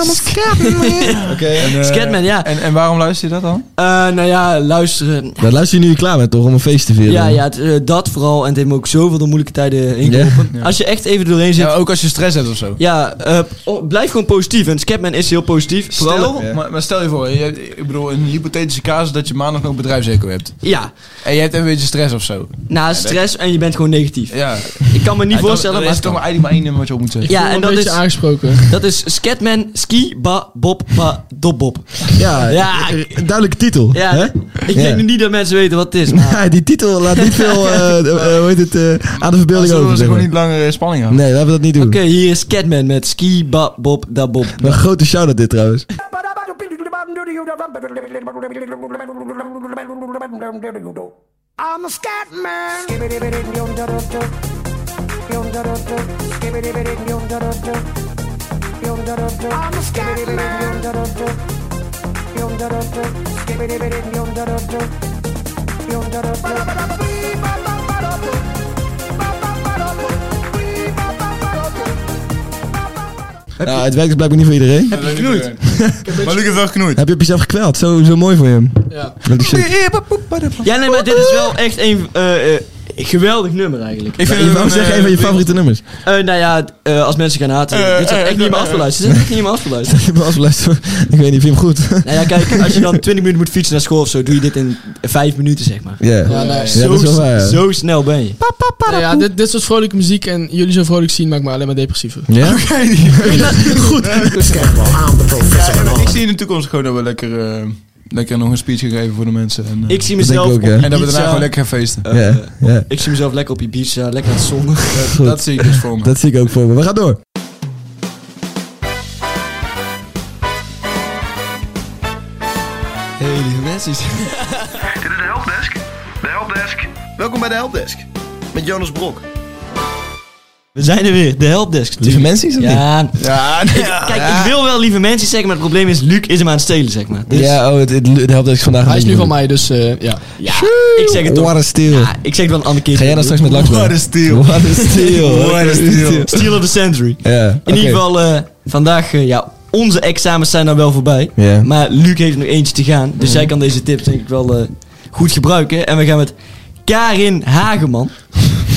Speaker 5: Oké.
Speaker 6: Eh,
Speaker 7: Scatman, ja.
Speaker 6: En, en waarom luister je dat dan?
Speaker 7: Eh, nou ja, luisteren.
Speaker 5: Dan luister je nu klaar met toch om een feest te vieren.
Speaker 7: Ja, ja, het, eh, dat vooral. En het heeft me ook zoveel door moeilijke tijden heen geholpen. Als je echt even doorheen zit, ja,
Speaker 6: ook als je stress hebt of zo.
Speaker 7: eh, oh, blijf gewoon positief. En Scatman is heel positief. Vooral,
Speaker 6: Stel, maar, maar stel je voor, je, ik bedoel, een hypothetische casus dat je maandag nog bedrijfseco hebt.
Speaker 7: ja,
Speaker 6: En je hebt een beetje stress of zo.
Speaker 7: na stress en je bent gewoon negatief.
Speaker 6: Ja.
Speaker 7: Ik kan me niet
Speaker 6: Ja, dan-
Speaker 7: voorstellen,
Speaker 6: dan
Speaker 7: maar
Speaker 6: is
Speaker 7: het
Speaker 6: toch
Speaker 7: kan.
Speaker 6: maar eigenlijk maar één nummer wat je op moet zeggen.
Speaker 7: Ja,
Speaker 2: en
Speaker 7: en
Speaker 2: een
Speaker 7: dat
Speaker 2: beetje
Speaker 7: is,
Speaker 2: aangesproken.
Speaker 7: dat is Scatman, ski, ba, bob, ba, dob, bob.
Speaker 5: Ja,
Speaker 7: Ja,
Speaker 5: Een duidelijke titel.
Speaker 7: Ja,
Speaker 5: hè?
Speaker 7: ik
Speaker 5: Ja.
Speaker 7: denk nu niet dat mensen weten wat het is, maar...
Speaker 5: Ja, die titel laat niet veel eh, eh, hoe heet het, eh, aan de
Speaker 6: Dan
Speaker 5: verbeelding
Speaker 6: zullen
Speaker 5: over. zeg
Speaker 6: we ze gewoon
Speaker 5: maar.
Speaker 6: niet langer eh, spanning houden.
Speaker 5: Nee, laten we dat niet doen.
Speaker 7: Oké, hier is Catman met ski, ba, bob, da, bob.
Speaker 5: Wat Een grote shout-out dit trouwens.
Speaker 9: I'm a scat man. I'm a scat
Speaker 5: Nou, het werkt dus blijkbaar niet voor iedereen.
Speaker 6: Heb je knoeid? Maar Luc heeft wel knoeid.
Speaker 5: Heb je op jezelf gekweld? Zo, zo mooi voor je.
Speaker 2: Ja.
Speaker 5: Dat is shit.
Speaker 7: Ja, nee, maar dit is wel echt een eh, eh, geweldig nummer eigenlijk.
Speaker 6: Ik
Speaker 5: Je wou
Speaker 6: een,
Speaker 5: zeggen
Speaker 6: eh,
Speaker 5: een van je
Speaker 6: ding-
Speaker 5: favoriete nummers.
Speaker 7: Eh, nou ja, eh, als mensen gaan haten,
Speaker 6: Eh,
Speaker 7: dit is
Speaker 6: eh,
Speaker 7: echt niet meer
Speaker 6: eh,
Speaker 7: afgeluisterd. Dit is echt niet meer afgeluisterd.
Speaker 5: Ik heb wel eens beluisterd. Ik weet niet, vind je hem goed?
Speaker 7: nou ja, kijk, als je dan 20 minuten moet fietsen naar school of zo, doe je dit in 5 minuten, zeg maar.
Speaker 5: Ja.
Speaker 2: Ja, nee.
Speaker 5: Ja, dat is wel waar. ja.
Speaker 7: Zo snel ben je.
Speaker 2: Nou ja, dit, dit soort vrolijke muziek en jullie zo vrolijk zien maakt me alleen maar depressiever.
Speaker 5: Ja?
Speaker 6: Ik zie in de toekomst gewoon dat we lekker, eh, lekker nog een speech gaan geven voor de mensen. En, eh,
Speaker 7: Ik zie
Speaker 5: dat denk
Speaker 7: mezelf
Speaker 5: ik ook, ja.
Speaker 7: op
Speaker 6: en dat we daarna
Speaker 7: Ibiza.
Speaker 6: gewoon lekker gaan feesten.
Speaker 7: Eh,
Speaker 5: Ja, ja.
Speaker 7: Ik zie mezelf lekker op Ibiza, lekker aan het zonnen.
Speaker 5: Goed.
Speaker 6: Dat zie ik dus voor me.
Speaker 5: Dat zie ik ook voor me. We gaan door.
Speaker 7: Hey, lieve mensen.
Speaker 1: Dit is de helpdesk. De helpdesk. Welkom bij de helpdesk. Met Jonas Brok.
Speaker 7: We zijn er weer, de helpdesk.
Speaker 5: Lieve mensen is het niet?
Speaker 7: Ja,
Speaker 6: Ah,
Speaker 5: Ja,
Speaker 7: kijk, ik wil wel lieve mensen zeggen, maar het probleem is, Luc is hem aan het stelen, zeg maar. Dus,
Speaker 5: ja oh, het, het, het helpt dat ik vandaag...
Speaker 2: Hij is
Speaker 5: een
Speaker 2: nu
Speaker 5: beetje
Speaker 2: van mij, dus eh, ja.
Speaker 7: ja, ik zeg
Speaker 5: bedoel.
Speaker 7: het toch.
Speaker 5: What a steal.
Speaker 7: Ja, ik zeg het wel een andere keer.
Speaker 5: Ga jij dan straks met Laks bellen?
Speaker 7: What a
Speaker 5: steal. What a steal. What a steal.
Speaker 7: Steal of the century.
Speaker 5: Ja,
Speaker 7: In ieder geval, eh, vandaag, eh, ja, onze examens zijn dan wel voorbij.
Speaker 5: Ja.
Speaker 7: Maar Luc heeft nog eentje te gaan. Dus zij kan deze tips denk ik wel eh, goed gebruiken. En we gaan met Karin Hageman.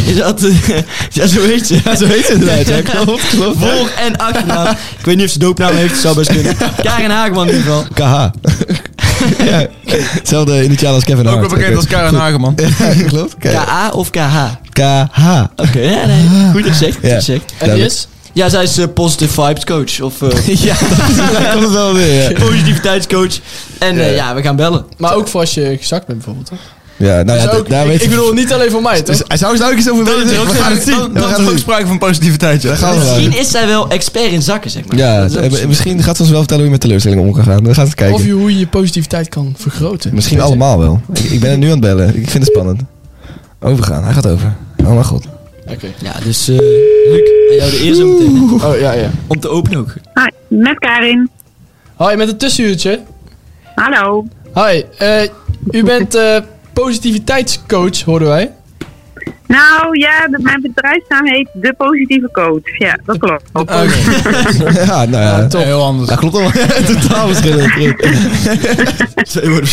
Speaker 7: Is dat... eh, ja, zo heet ze. Ja, zo heet ze inderdaad. Ja, klopt, klopt. Voor- en achternaam. Ik weet niet of ze doopnaam heeft. Zou best kunnen. Karin Hageman in ieder geval.
Speaker 5: KH. ja, hetzelfde initiaal als Kevin
Speaker 6: Ook
Speaker 5: Hart.
Speaker 6: wel bekend als Karen Hageman.
Speaker 5: KH. Klopt. K-
Speaker 7: KA of KH?
Speaker 5: KH.
Speaker 7: Oké, ja, nee. goed gezegd. Goed
Speaker 5: Ja.
Speaker 7: gezegd.
Speaker 2: En die is?
Speaker 7: Ja, zij is eh, positive vibes coach. Of eh,
Speaker 5: Ja, dat is- daar komt het wel weer. Ja,
Speaker 7: positiviteitscoach. En eh, ja, we gaan bellen.
Speaker 2: Maar ook voor als je gezakt bent bijvoorbeeld. hè?
Speaker 5: ja nou ja,
Speaker 2: Dus
Speaker 5: d-
Speaker 2: ook,
Speaker 5: daar
Speaker 2: ik,
Speaker 5: weet
Speaker 2: ik bedoel, niet alleen voor mij,
Speaker 5: Dus,
Speaker 2: toch?
Speaker 5: hij zou eens daar ook eens over
Speaker 6: Dat
Speaker 5: willen
Speaker 6: is er
Speaker 5: zeggen.
Speaker 6: ook,
Speaker 5: We gaan het zien. We
Speaker 6: dan, dan
Speaker 5: gaan
Speaker 6: is er
Speaker 5: het
Speaker 6: ook
Speaker 5: zien.
Speaker 6: sprake van positiviteit. Ja.
Speaker 5: Daar gaan we
Speaker 7: Misschien
Speaker 5: naar.
Speaker 7: is zij wel expert in zakken, zeg maar.
Speaker 5: Ja,
Speaker 7: Dat is ook
Speaker 5: eh,
Speaker 7: zo.
Speaker 5: misschien gaat ze ons wel vertellen hoe je met teleurstellingen om kan gaan. We gaan eens kijken.
Speaker 2: Of je, hoe je je positiviteit kan vergroten.
Speaker 5: Misschien
Speaker 2: Weet je.
Speaker 5: allemaal wel. Ik, ik ben er nu aan het bellen. Ik vind het spannend. Overgaan. Hij gaat over. Oh mijn god.
Speaker 2: Oké.
Speaker 7: Ja, dus eh Luc, aan jou de eer zo meteen. hè.
Speaker 2: Oh, ja, ja.
Speaker 7: Om te openen ook.
Speaker 8: Hi, met Karin.
Speaker 2: Hoi, met een tussenuurtje.
Speaker 8: Hallo.
Speaker 2: Hoi, eh, u bent eh, positiviteitscoach, hoorden wij.
Speaker 8: Nou ja, de- mijn bedrijfsnaam heet De Positieve Coach. Ja, dat klopt.
Speaker 6: Oh,
Speaker 5: Ja, nou ja.
Speaker 2: Top.
Speaker 6: Heel anders.
Speaker 5: Dat klopt allemaal. Totaal verschillend.
Speaker 7: Twee woorden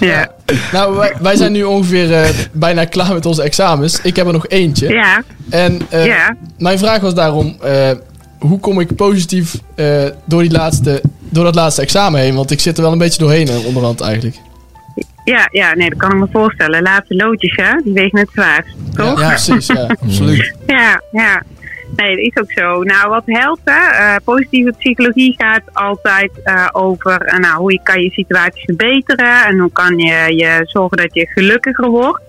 Speaker 8: Ja.
Speaker 2: Nou, wij, wij zijn nu ongeveer eh, bijna klaar met onze examens. Ik heb er nog eentje.
Speaker 8: Ja.
Speaker 2: En eh,
Speaker 8: Ja.
Speaker 2: mijn vraag was daarom, eh, hoe kom ik positief eh, door, die laatste, door dat laatste examen heen? Want ik zit er wel een beetje doorheen eh, onderhand eigenlijk.
Speaker 8: Ja, ja, nee, dat kan ik me voorstellen. Laatste loodjes, hè? Die wegen het zwaarst. Toch?
Speaker 2: Ja, precies. Ja.
Speaker 6: Absoluut.
Speaker 8: Ja, ja. Nee, dat is ook zo. Nou, wat helpt, hè? Eh, positieve psychologie gaat altijd eh, over eh, nou, hoe je kan je situatie verbeteren en hoe kan je, je zorgen dat je gelukkiger wordt.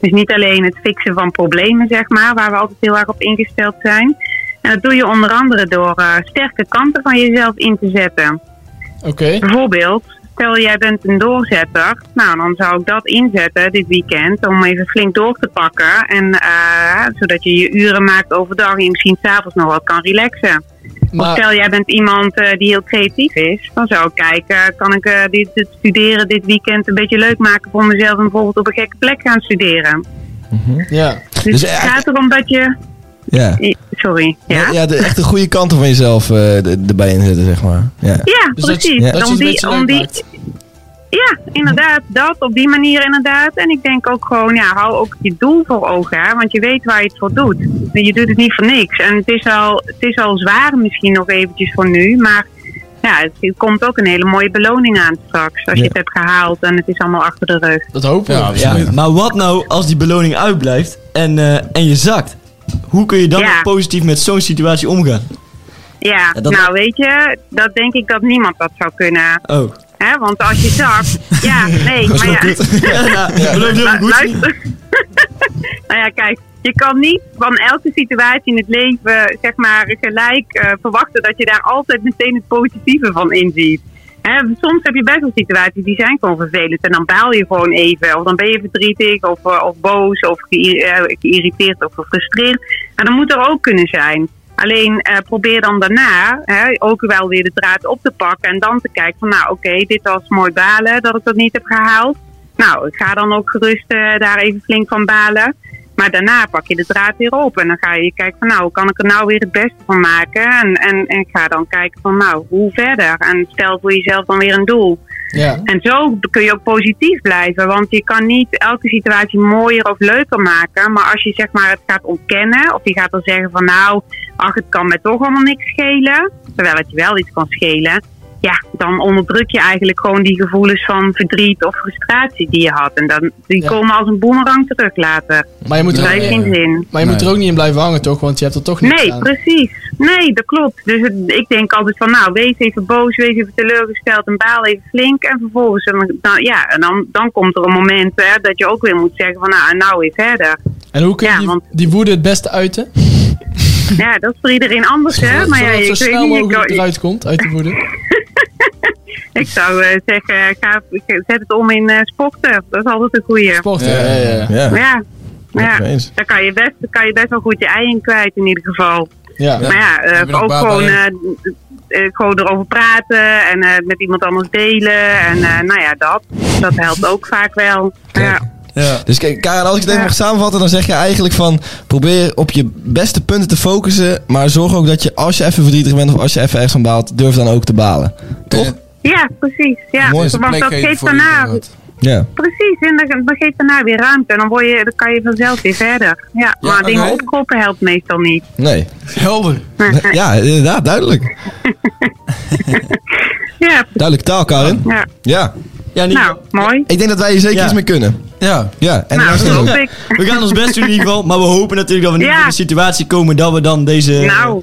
Speaker 8: Dus niet alleen het fixen van problemen, zeg maar, waar we altijd heel erg op ingesteld zijn. En dat doe je onder andere door eh, sterke kanten van jezelf in te zetten.
Speaker 2: Oké.
Speaker 8: Bijvoorbeeld, stel jij bent een doorzetter. Nou, dan zou ik dat inzetten dit weekend om even flink door te pakken. En eh, zodat je je uren maakt overdag en je misschien s'avonds nog wat kan relaxen. Of
Speaker 2: Maar,
Speaker 8: stel jij bent iemand eh, die heel creatief is. Dan zou ik kijken, kan ik eh, dit, dit studeren dit weekend een beetje leuk maken voor mezelf. En bijvoorbeeld op een gekke plek gaan studeren.
Speaker 2: ja.
Speaker 8: Dus,
Speaker 5: Dus
Speaker 8: het
Speaker 2: eh,
Speaker 5: eigenlijk-
Speaker 8: gaat erom dat je...
Speaker 5: Ja.
Speaker 8: Sorry, ja?
Speaker 5: Ja, de echte goede kanten van jezelf eh, er- erbij inzetten, zeg maar. Ja.
Speaker 8: Ja,
Speaker 2: Dus dat-
Speaker 8: precies.
Speaker 2: dat je het
Speaker 8: om
Speaker 2: een
Speaker 8: die,
Speaker 2: beetje
Speaker 8: om
Speaker 2: leuk
Speaker 8: die,
Speaker 2: maakt.
Speaker 8: ja, inderdaad. Dat op die manier inderdaad. En ik denk ook gewoon, ja, hou ook je doel voor ogen. Hè, want je weet waar je het voor doet. Je doet het niet voor niks. En het is al, het is al zwaar misschien nog eventjes voor nu. Maar ja, het- er komt ook een hele mooie beloning aan straks. Als je
Speaker 5: Ja.
Speaker 8: het hebt gehaald en het is allemaal achter de rug.
Speaker 2: Dat hopen we.
Speaker 6: Ja,
Speaker 7: Ja,
Speaker 6: absoluut.
Speaker 7: maar wat nou als die beloning uitblijft en, eh, en je zakt? Hoe kun je dan
Speaker 8: Ja.
Speaker 7: nog positief met zo'n situatie omgaan?
Speaker 8: Ja,
Speaker 7: Ja, dat-
Speaker 8: nou weet je, dat denk ik dat niemand dat zou kunnen.
Speaker 7: Oh.
Speaker 8: Hè, want als je zakt, ja, nee, maar ja,
Speaker 7: Ja, beloof je dat
Speaker 8: Lu-
Speaker 7: goed?
Speaker 8: luister. nou ja, kijk. Je kan niet van elke situatie in het leven, zeg maar, gelijk eh, verwachten dat je daar altijd meteen het positieve van inziet. Hè, soms heb je best wel situaties die zijn gewoon vervelend en dan baal je gewoon even. Of dan ben je verdrietig of, eh, of boos of geïr- eh, geïrriteerd of gefrustreerd. En dat moet er ook kunnen zijn. Alleen eh, probeer dan daarna hè, ook wel weer de draad op te pakken en dan te kijken van nou oké, dit was mooi balen dat ik dat niet heb gehaald. Nou, ik ga dan ook gerust eh, daar even flink van balen. Maar daarna pak je de draad weer op en dan ga je kijken van nou, hoe kan ik er nou weer het beste van maken? En, en, en ik ga dan kijken van nou, hoe verder? En stel voor jezelf dan weer een doel.
Speaker 2: Ja.
Speaker 8: En zo kun je ook positief blijven, want je kan niet elke situatie mooier of leuker maken. Maar als je zeg maar het gaat ontkennen of je gaat dan zeggen van nou, ach het kan me toch allemaal niks schelen. Terwijl het je wel iets kan schelen. Ja, dan onderdruk je eigenlijk gewoon die gevoelens van verdriet of frustratie die je had. En dan, die
Speaker 2: Ja.
Speaker 8: komen als een boemerang terug later.
Speaker 2: Maar je moet er
Speaker 8: Dat
Speaker 2: ook
Speaker 8: heeft
Speaker 2: niet,
Speaker 8: geen zin.
Speaker 2: maar je moet er
Speaker 6: Nee.
Speaker 2: ook niet in blijven hangen, toch? Want je hebt er toch niet
Speaker 8: Nee, precies. Nee, dat klopt. Dus het- ik denk altijd van, nou, wees even boos, wees even teleurgesteld en baal even flink. En vervolgens, dan, dan- ja, en dan, dan komt er een moment hè, dat je ook weer moet zeggen van, nou, en nou weer verder.
Speaker 2: En hoe kun je
Speaker 8: Ja,
Speaker 2: die,
Speaker 8: want-
Speaker 2: die woede het beste uiten?
Speaker 8: Ja, dat is voor iedereen anders, hè. Maar ja,
Speaker 2: Zodat het zo
Speaker 8: ik weet
Speaker 2: snel
Speaker 8: niet,
Speaker 2: mogelijk
Speaker 8: ik,
Speaker 2: eruit komt, uit de woede.
Speaker 8: ik zou eh, zeggen, ga, zet het om in eh, sporten. Dat is altijd een goeie.
Speaker 2: Sport, ja. ja, ja, ja.
Speaker 5: Ja.
Speaker 8: Ja, Maar
Speaker 5: het mee
Speaker 8: ja,
Speaker 5: eens.
Speaker 8: daar kan je, best, daar kan je best wel goed je ei in kwijt in ieder geval.
Speaker 2: Ja.
Speaker 8: Maar ja, eh,
Speaker 6: hebben nog
Speaker 8: ook
Speaker 6: baat bij,
Speaker 8: gewoon,
Speaker 6: hè?
Speaker 8: eh, eh, gewoon erover praten en eh, met iemand anders delen. En eh, nou ja, dat. Dat helpt ook vaak wel. Ja.
Speaker 6: Ja.
Speaker 5: Dus kijk, Karen, als ik het even
Speaker 8: Ja.
Speaker 5: mag samenvatten, dan zeg je eigenlijk van... probeer op je beste punten te focussen... maar zorg ook dat je als je even verdrietig bent of als je even ergens van baalt... durf dan ook te balen. Toch?
Speaker 8: ja, precies. Ja.
Speaker 5: Mooi,
Speaker 6: Is een
Speaker 8: Want
Speaker 6: plek
Speaker 8: dat
Speaker 6: geven
Speaker 8: geeft
Speaker 6: voor je
Speaker 8: daarna,
Speaker 6: inderdaad.
Speaker 5: Ja.
Speaker 8: precies, en dan, dan geeft daarna weer ruimte. En dan, word je, dan kan je vanzelf weer verder. Ja, maar
Speaker 6: oké.
Speaker 8: dingen opkroppen helpt meestal niet.
Speaker 5: Nee.
Speaker 6: Helder.
Speaker 5: Ja, inderdaad, duidelijk.
Speaker 8: Ja,
Speaker 5: Duidelijk taal, Karin.
Speaker 8: ja.
Speaker 5: Ja.
Speaker 7: Ja, Nico.
Speaker 8: nou, mooi.
Speaker 5: Ik denk dat wij hier zeker
Speaker 7: Ja.
Speaker 5: iets mee kunnen.
Speaker 6: Ja.
Speaker 5: Ja, en de
Speaker 8: Nou,
Speaker 5: rest
Speaker 8: dat
Speaker 5: ook.
Speaker 8: hoop ik.
Speaker 7: We gaan ons best doen in ieder geval, maar we hopen natuurlijk dat we niet
Speaker 8: Ja.
Speaker 7: in de situatie komen dat we dan deze
Speaker 8: Nou,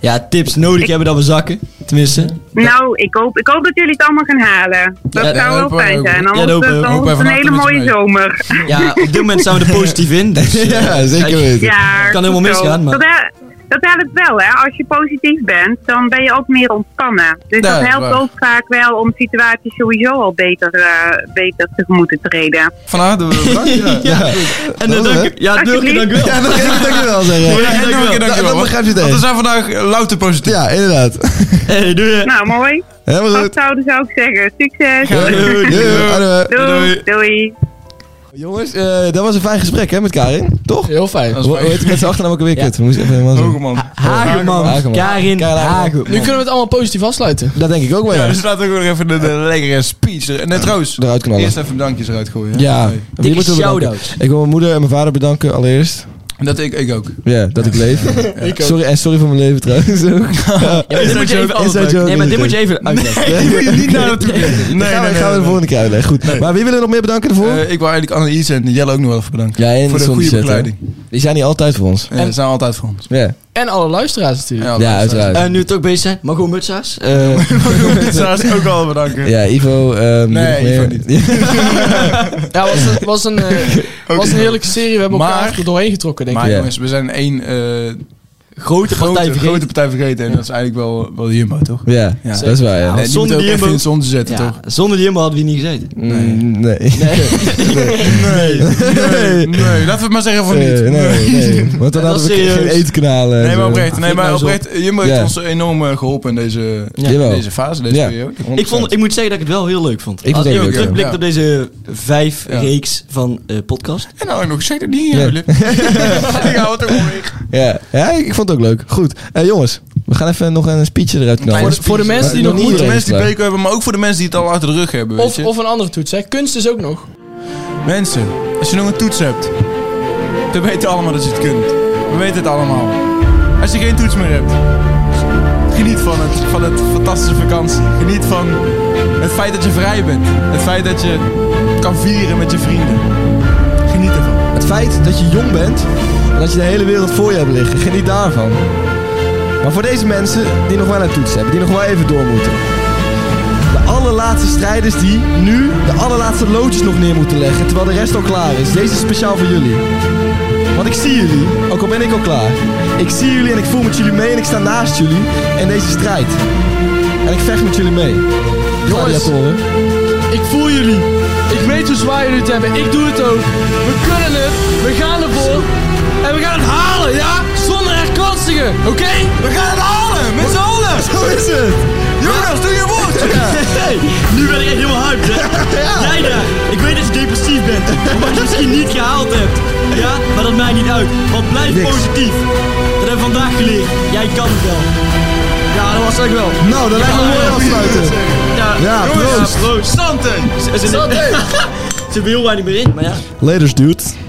Speaker 7: ja, tips nodig hebben dat we zakken. Tenminste.
Speaker 8: nou ik, hoop, ik hoop dat jullie het allemaal gaan halen. Dat
Speaker 6: Ja, dat
Speaker 8: zou wel
Speaker 6: hopen we
Speaker 8: fijn
Speaker 6: ook.
Speaker 8: zijn.
Speaker 6: Ja,
Speaker 8: Dan wordt
Speaker 7: dat hopen
Speaker 8: het
Speaker 7: we.
Speaker 8: dan
Speaker 6: Hopen
Speaker 8: wordt het
Speaker 6: we
Speaker 8: een hele
Speaker 6: vanaf
Speaker 8: mooie
Speaker 6: met je
Speaker 8: zomer.
Speaker 7: Ja, op dit moment staan we er positief in. Dus, eh,
Speaker 5: Ja, zeker
Speaker 7: kijk,
Speaker 5: weten.
Speaker 8: Ja,
Speaker 7: Kan helemaal
Speaker 8: goed zo.
Speaker 7: misgaan, maar-
Speaker 8: Dat, hel- dat helpt wel, hè. Als je positief bent, dan ben je ook meer ontspannen. Dus
Speaker 6: Ja,
Speaker 8: dat
Speaker 6: dat is
Speaker 8: helpt
Speaker 6: waar.
Speaker 8: ook vaak wel om situaties sowieso al beter, eh, beter tegemoet te treden.
Speaker 6: Van harte bedankt. Ja.
Speaker 5: Ja.
Speaker 7: En dan
Speaker 5: Dat is
Speaker 7: dank, ja, Durk, dank u wel.
Speaker 5: Ja, nog even dankjewel zeggen.
Speaker 6: En nog een keer
Speaker 5: Dat-
Speaker 6: dankjewel.
Speaker 5: dat begrijp je het
Speaker 6: Want we
Speaker 5: eens.
Speaker 6: zijn vandaag eh, louter positief.
Speaker 5: Ja, inderdaad.
Speaker 7: Hey, eh. doei.
Speaker 8: Nou, mooi.
Speaker 5: Helemaal goed.
Speaker 8: Vasthouden zou ik zeggen. Succes.
Speaker 5: Doei, doei. Hallo.
Speaker 8: Doei. Doei.
Speaker 5: Jongens, eh, dat was een fijn gesprek hè, met Karin, toch?
Speaker 2: Heel fijn.
Speaker 6: Dat is
Speaker 5: Hoe hoe heet die met zijn achternaam ook alweer? Kut, we moesten even helemaal zo.
Speaker 6: Hogeman.
Speaker 7: Hageman,
Speaker 5: Hageman.
Speaker 7: Karin
Speaker 5: Karin
Speaker 7: Hageman.
Speaker 2: Nu kunnen we het allemaal positief afsluiten.
Speaker 5: Dat denk ik ook wel,
Speaker 6: Ja,
Speaker 5: ja.
Speaker 6: dus laten we ook nog even de, de lekkere speech er- En net trouwens,
Speaker 5: Eruit knallen.
Speaker 6: eerst even dankjes eruit gooien. hè?
Speaker 5: Ja,
Speaker 6: Nee.
Speaker 5: wie moeten we bedanken?
Speaker 7: shout-out.
Speaker 5: Ik wil mijn moeder en mijn vader bedanken allereerst.
Speaker 6: Dat ik, ik ook.
Speaker 5: Ja, dat ik leef.
Speaker 2: Ik ook.
Speaker 5: Sorry, en sorry voor mijn leven trouwens ook.
Speaker 7: Ja, maar dit moet je even
Speaker 5: Inside joke,
Speaker 7: uitleggen. Nee, maar dit
Speaker 5: inside
Speaker 7: moet je even uitleggen.
Speaker 5: Nee, nee,
Speaker 6: Niet naar naartoe. Nee, nee,
Speaker 5: gaan we,
Speaker 6: nee,
Speaker 5: gaan we
Speaker 6: nee.
Speaker 5: de volgende keer uitleggen. Goed. Maar wie willen we nog meer bedanken ervoor?
Speaker 6: Eh, ik wil eigenlijk Annelies en Jelle ook nog wel even bedanken.
Speaker 5: ja, en
Speaker 6: voor de
Speaker 5: Sonny
Speaker 6: goede
Speaker 5: Zet, hè.
Speaker 6: begeleiding.
Speaker 5: Die zijn niet altijd voor ons.
Speaker 6: Ja, ze zijn altijd voor ons.
Speaker 5: Ja,
Speaker 2: En alle luisteraars natuurlijk.
Speaker 6: Ja,
Speaker 5: ja uiteraard.
Speaker 7: En Eh, nu we toch bezig zijn, Margot Mutsaars. eh,
Speaker 6: Pizza's ook al bedanken.
Speaker 5: Ja, Ivo. ehm,
Speaker 6: Nee,
Speaker 5: wie nog
Speaker 6: Ivo
Speaker 5: meer?
Speaker 2: Ja, was, een- was, een, eh, was een heerlijke serie. We hebben elkaar
Speaker 6: Maar-
Speaker 2: er doorheen getrokken, denk ik.
Speaker 6: Maar
Speaker 5: Ja.
Speaker 6: jongens, we zijn één eh,
Speaker 7: grote
Speaker 6: grote,
Speaker 7: partij
Speaker 6: grote
Speaker 7: vergeten.
Speaker 6: partij vergeten. En dat is eigenlijk wel, wel de Jumbo, toch? Eh,
Speaker 5: Ja,
Speaker 6: Ja.
Speaker 5: dat is waar, ja.
Speaker 7: Ja.
Speaker 6: die
Speaker 7: zonder
Speaker 6: moeten
Speaker 7: die
Speaker 6: ook even
Speaker 7: Jumbo-
Speaker 6: in het zon zetten,
Speaker 7: Ja,
Speaker 6: toch?
Speaker 7: zonder die Jumbo hadden we hier niet gezeten.
Speaker 5: Mm, Nee. Nee.
Speaker 6: Nee, nee, nee. Laten we het maar zeggen voor niet.
Speaker 5: Eh, Nee, nee, Want dan
Speaker 7: Dat
Speaker 5: hadden we
Speaker 7: is serieus.
Speaker 5: geen etenkanalen. en
Speaker 6: Nee, maar
Speaker 5: zo.
Speaker 6: oprecht. Nee, maar
Speaker 7: nou zo.
Speaker 6: oprecht. Jumbo heeft
Speaker 5: Ja.
Speaker 6: ons enorm eh, geholpen in deze,
Speaker 5: Jawel.
Speaker 6: deze fase, deze
Speaker 5: Ja.
Speaker 6: periode.
Speaker 7: Ik, vond, ik moet zeggen dat ik het wel heel leuk vond.
Speaker 5: vond het
Speaker 7: Als
Speaker 5: ook
Speaker 7: ik
Speaker 5: leuk, ja.
Speaker 7: terugblikt
Speaker 6: Ja.
Speaker 7: op deze vijf
Speaker 6: Ja.
Speaker 7: reeks van eh, podcast.
Speaker 6: En nou heb ik nog gezegd dat niet
Speaker 5: Ja.
Speaker 6: jullie. Ik hou het ook wel weer.
Speaker 5: Ja. ja, ik ik vond het ook leuk. Goed. Eh, jongens, we gaan even nog een speechje eruit knallen.
Speaker 2: Voor de, voor de mensen die
Speaker 5: Maar
Speaker 2: nog
Speaker 5: nog
Speaker 6: Voor
Speaker 2: moeten.
Speaker 6: de mensen die
Speaker 5: Iedereen is
Speaker 6: beker hebben, maar ook voor de mensen die het al achter de rug hebben. weet
Speaker 2: Of,
Speaker 6: je.
Speaker 2: of een andere toets, hè. Kunst is ook nog.
Speaker 6: Mensen, als je nog een toets hebt, dan weten we allemaal dat je het kunt. We weten het allemaal. Als je geen toets meer hebt, geniet van het, van het fantastische vakantie. Geniet van het feit dat je vrij bent. Het feit dat je kan vieren met je vrienden. Geniet ervan.
Speaker 5: Het feit dat je jong bent en dat je de hele wereld voor je hebt liggen, geniet daarvan. Maar voor deze mensen die nog wel een toets hebben, die nog wel even door moeten. De allerlaatste strijders die nu de allerlaatste loodjes nog neer moeten leggen, terwijl de rest al klaar is. Deze is speciaal voor jullie. Want ik zie jullie, ook al ben ik al klaar. Ik zie jullie en ik voel met jullie mee en ik sta naast jullie in deze strijd. En ik vecht met jullie mee. Gladiatoren.
Speaker 2: Ik voel jullie. Ik weet hoe zwaar jullie het hebben. Ik doe het ook. We kunnen het. We gaan ervoor. En we gaan het halen, ja? Zonder herkansigen, oké?
Speaker 6: We gaan het halen, met z'n allen!
Speaker 5: Zo is het!
Speaker 6: Jonas, doe je woord!
Speaker 7: Hey, nu ben ik echt helemaal hyped, hè? Jij daar, ik weet dat je depressief bent, omdat je het misschien niet gehaald hebt. Ja, maar dat maakt niet uit, want blijf
Speaker 5: Niks.
Speaker 7: positief. Dat hebben we vandaag geleerd. Jij kan het wel. Ja, dat was echt wel.
Speaker 5: Nou, dan lijkt me mooi afsluiten.
Speaker 7: Ja,
Speaker 5: Ja, proost.
Speaker 7: proost. Santen! Ze, ze, ze hebben heel weinig meer in, maar ja.
Speaker 5: Laters, dude.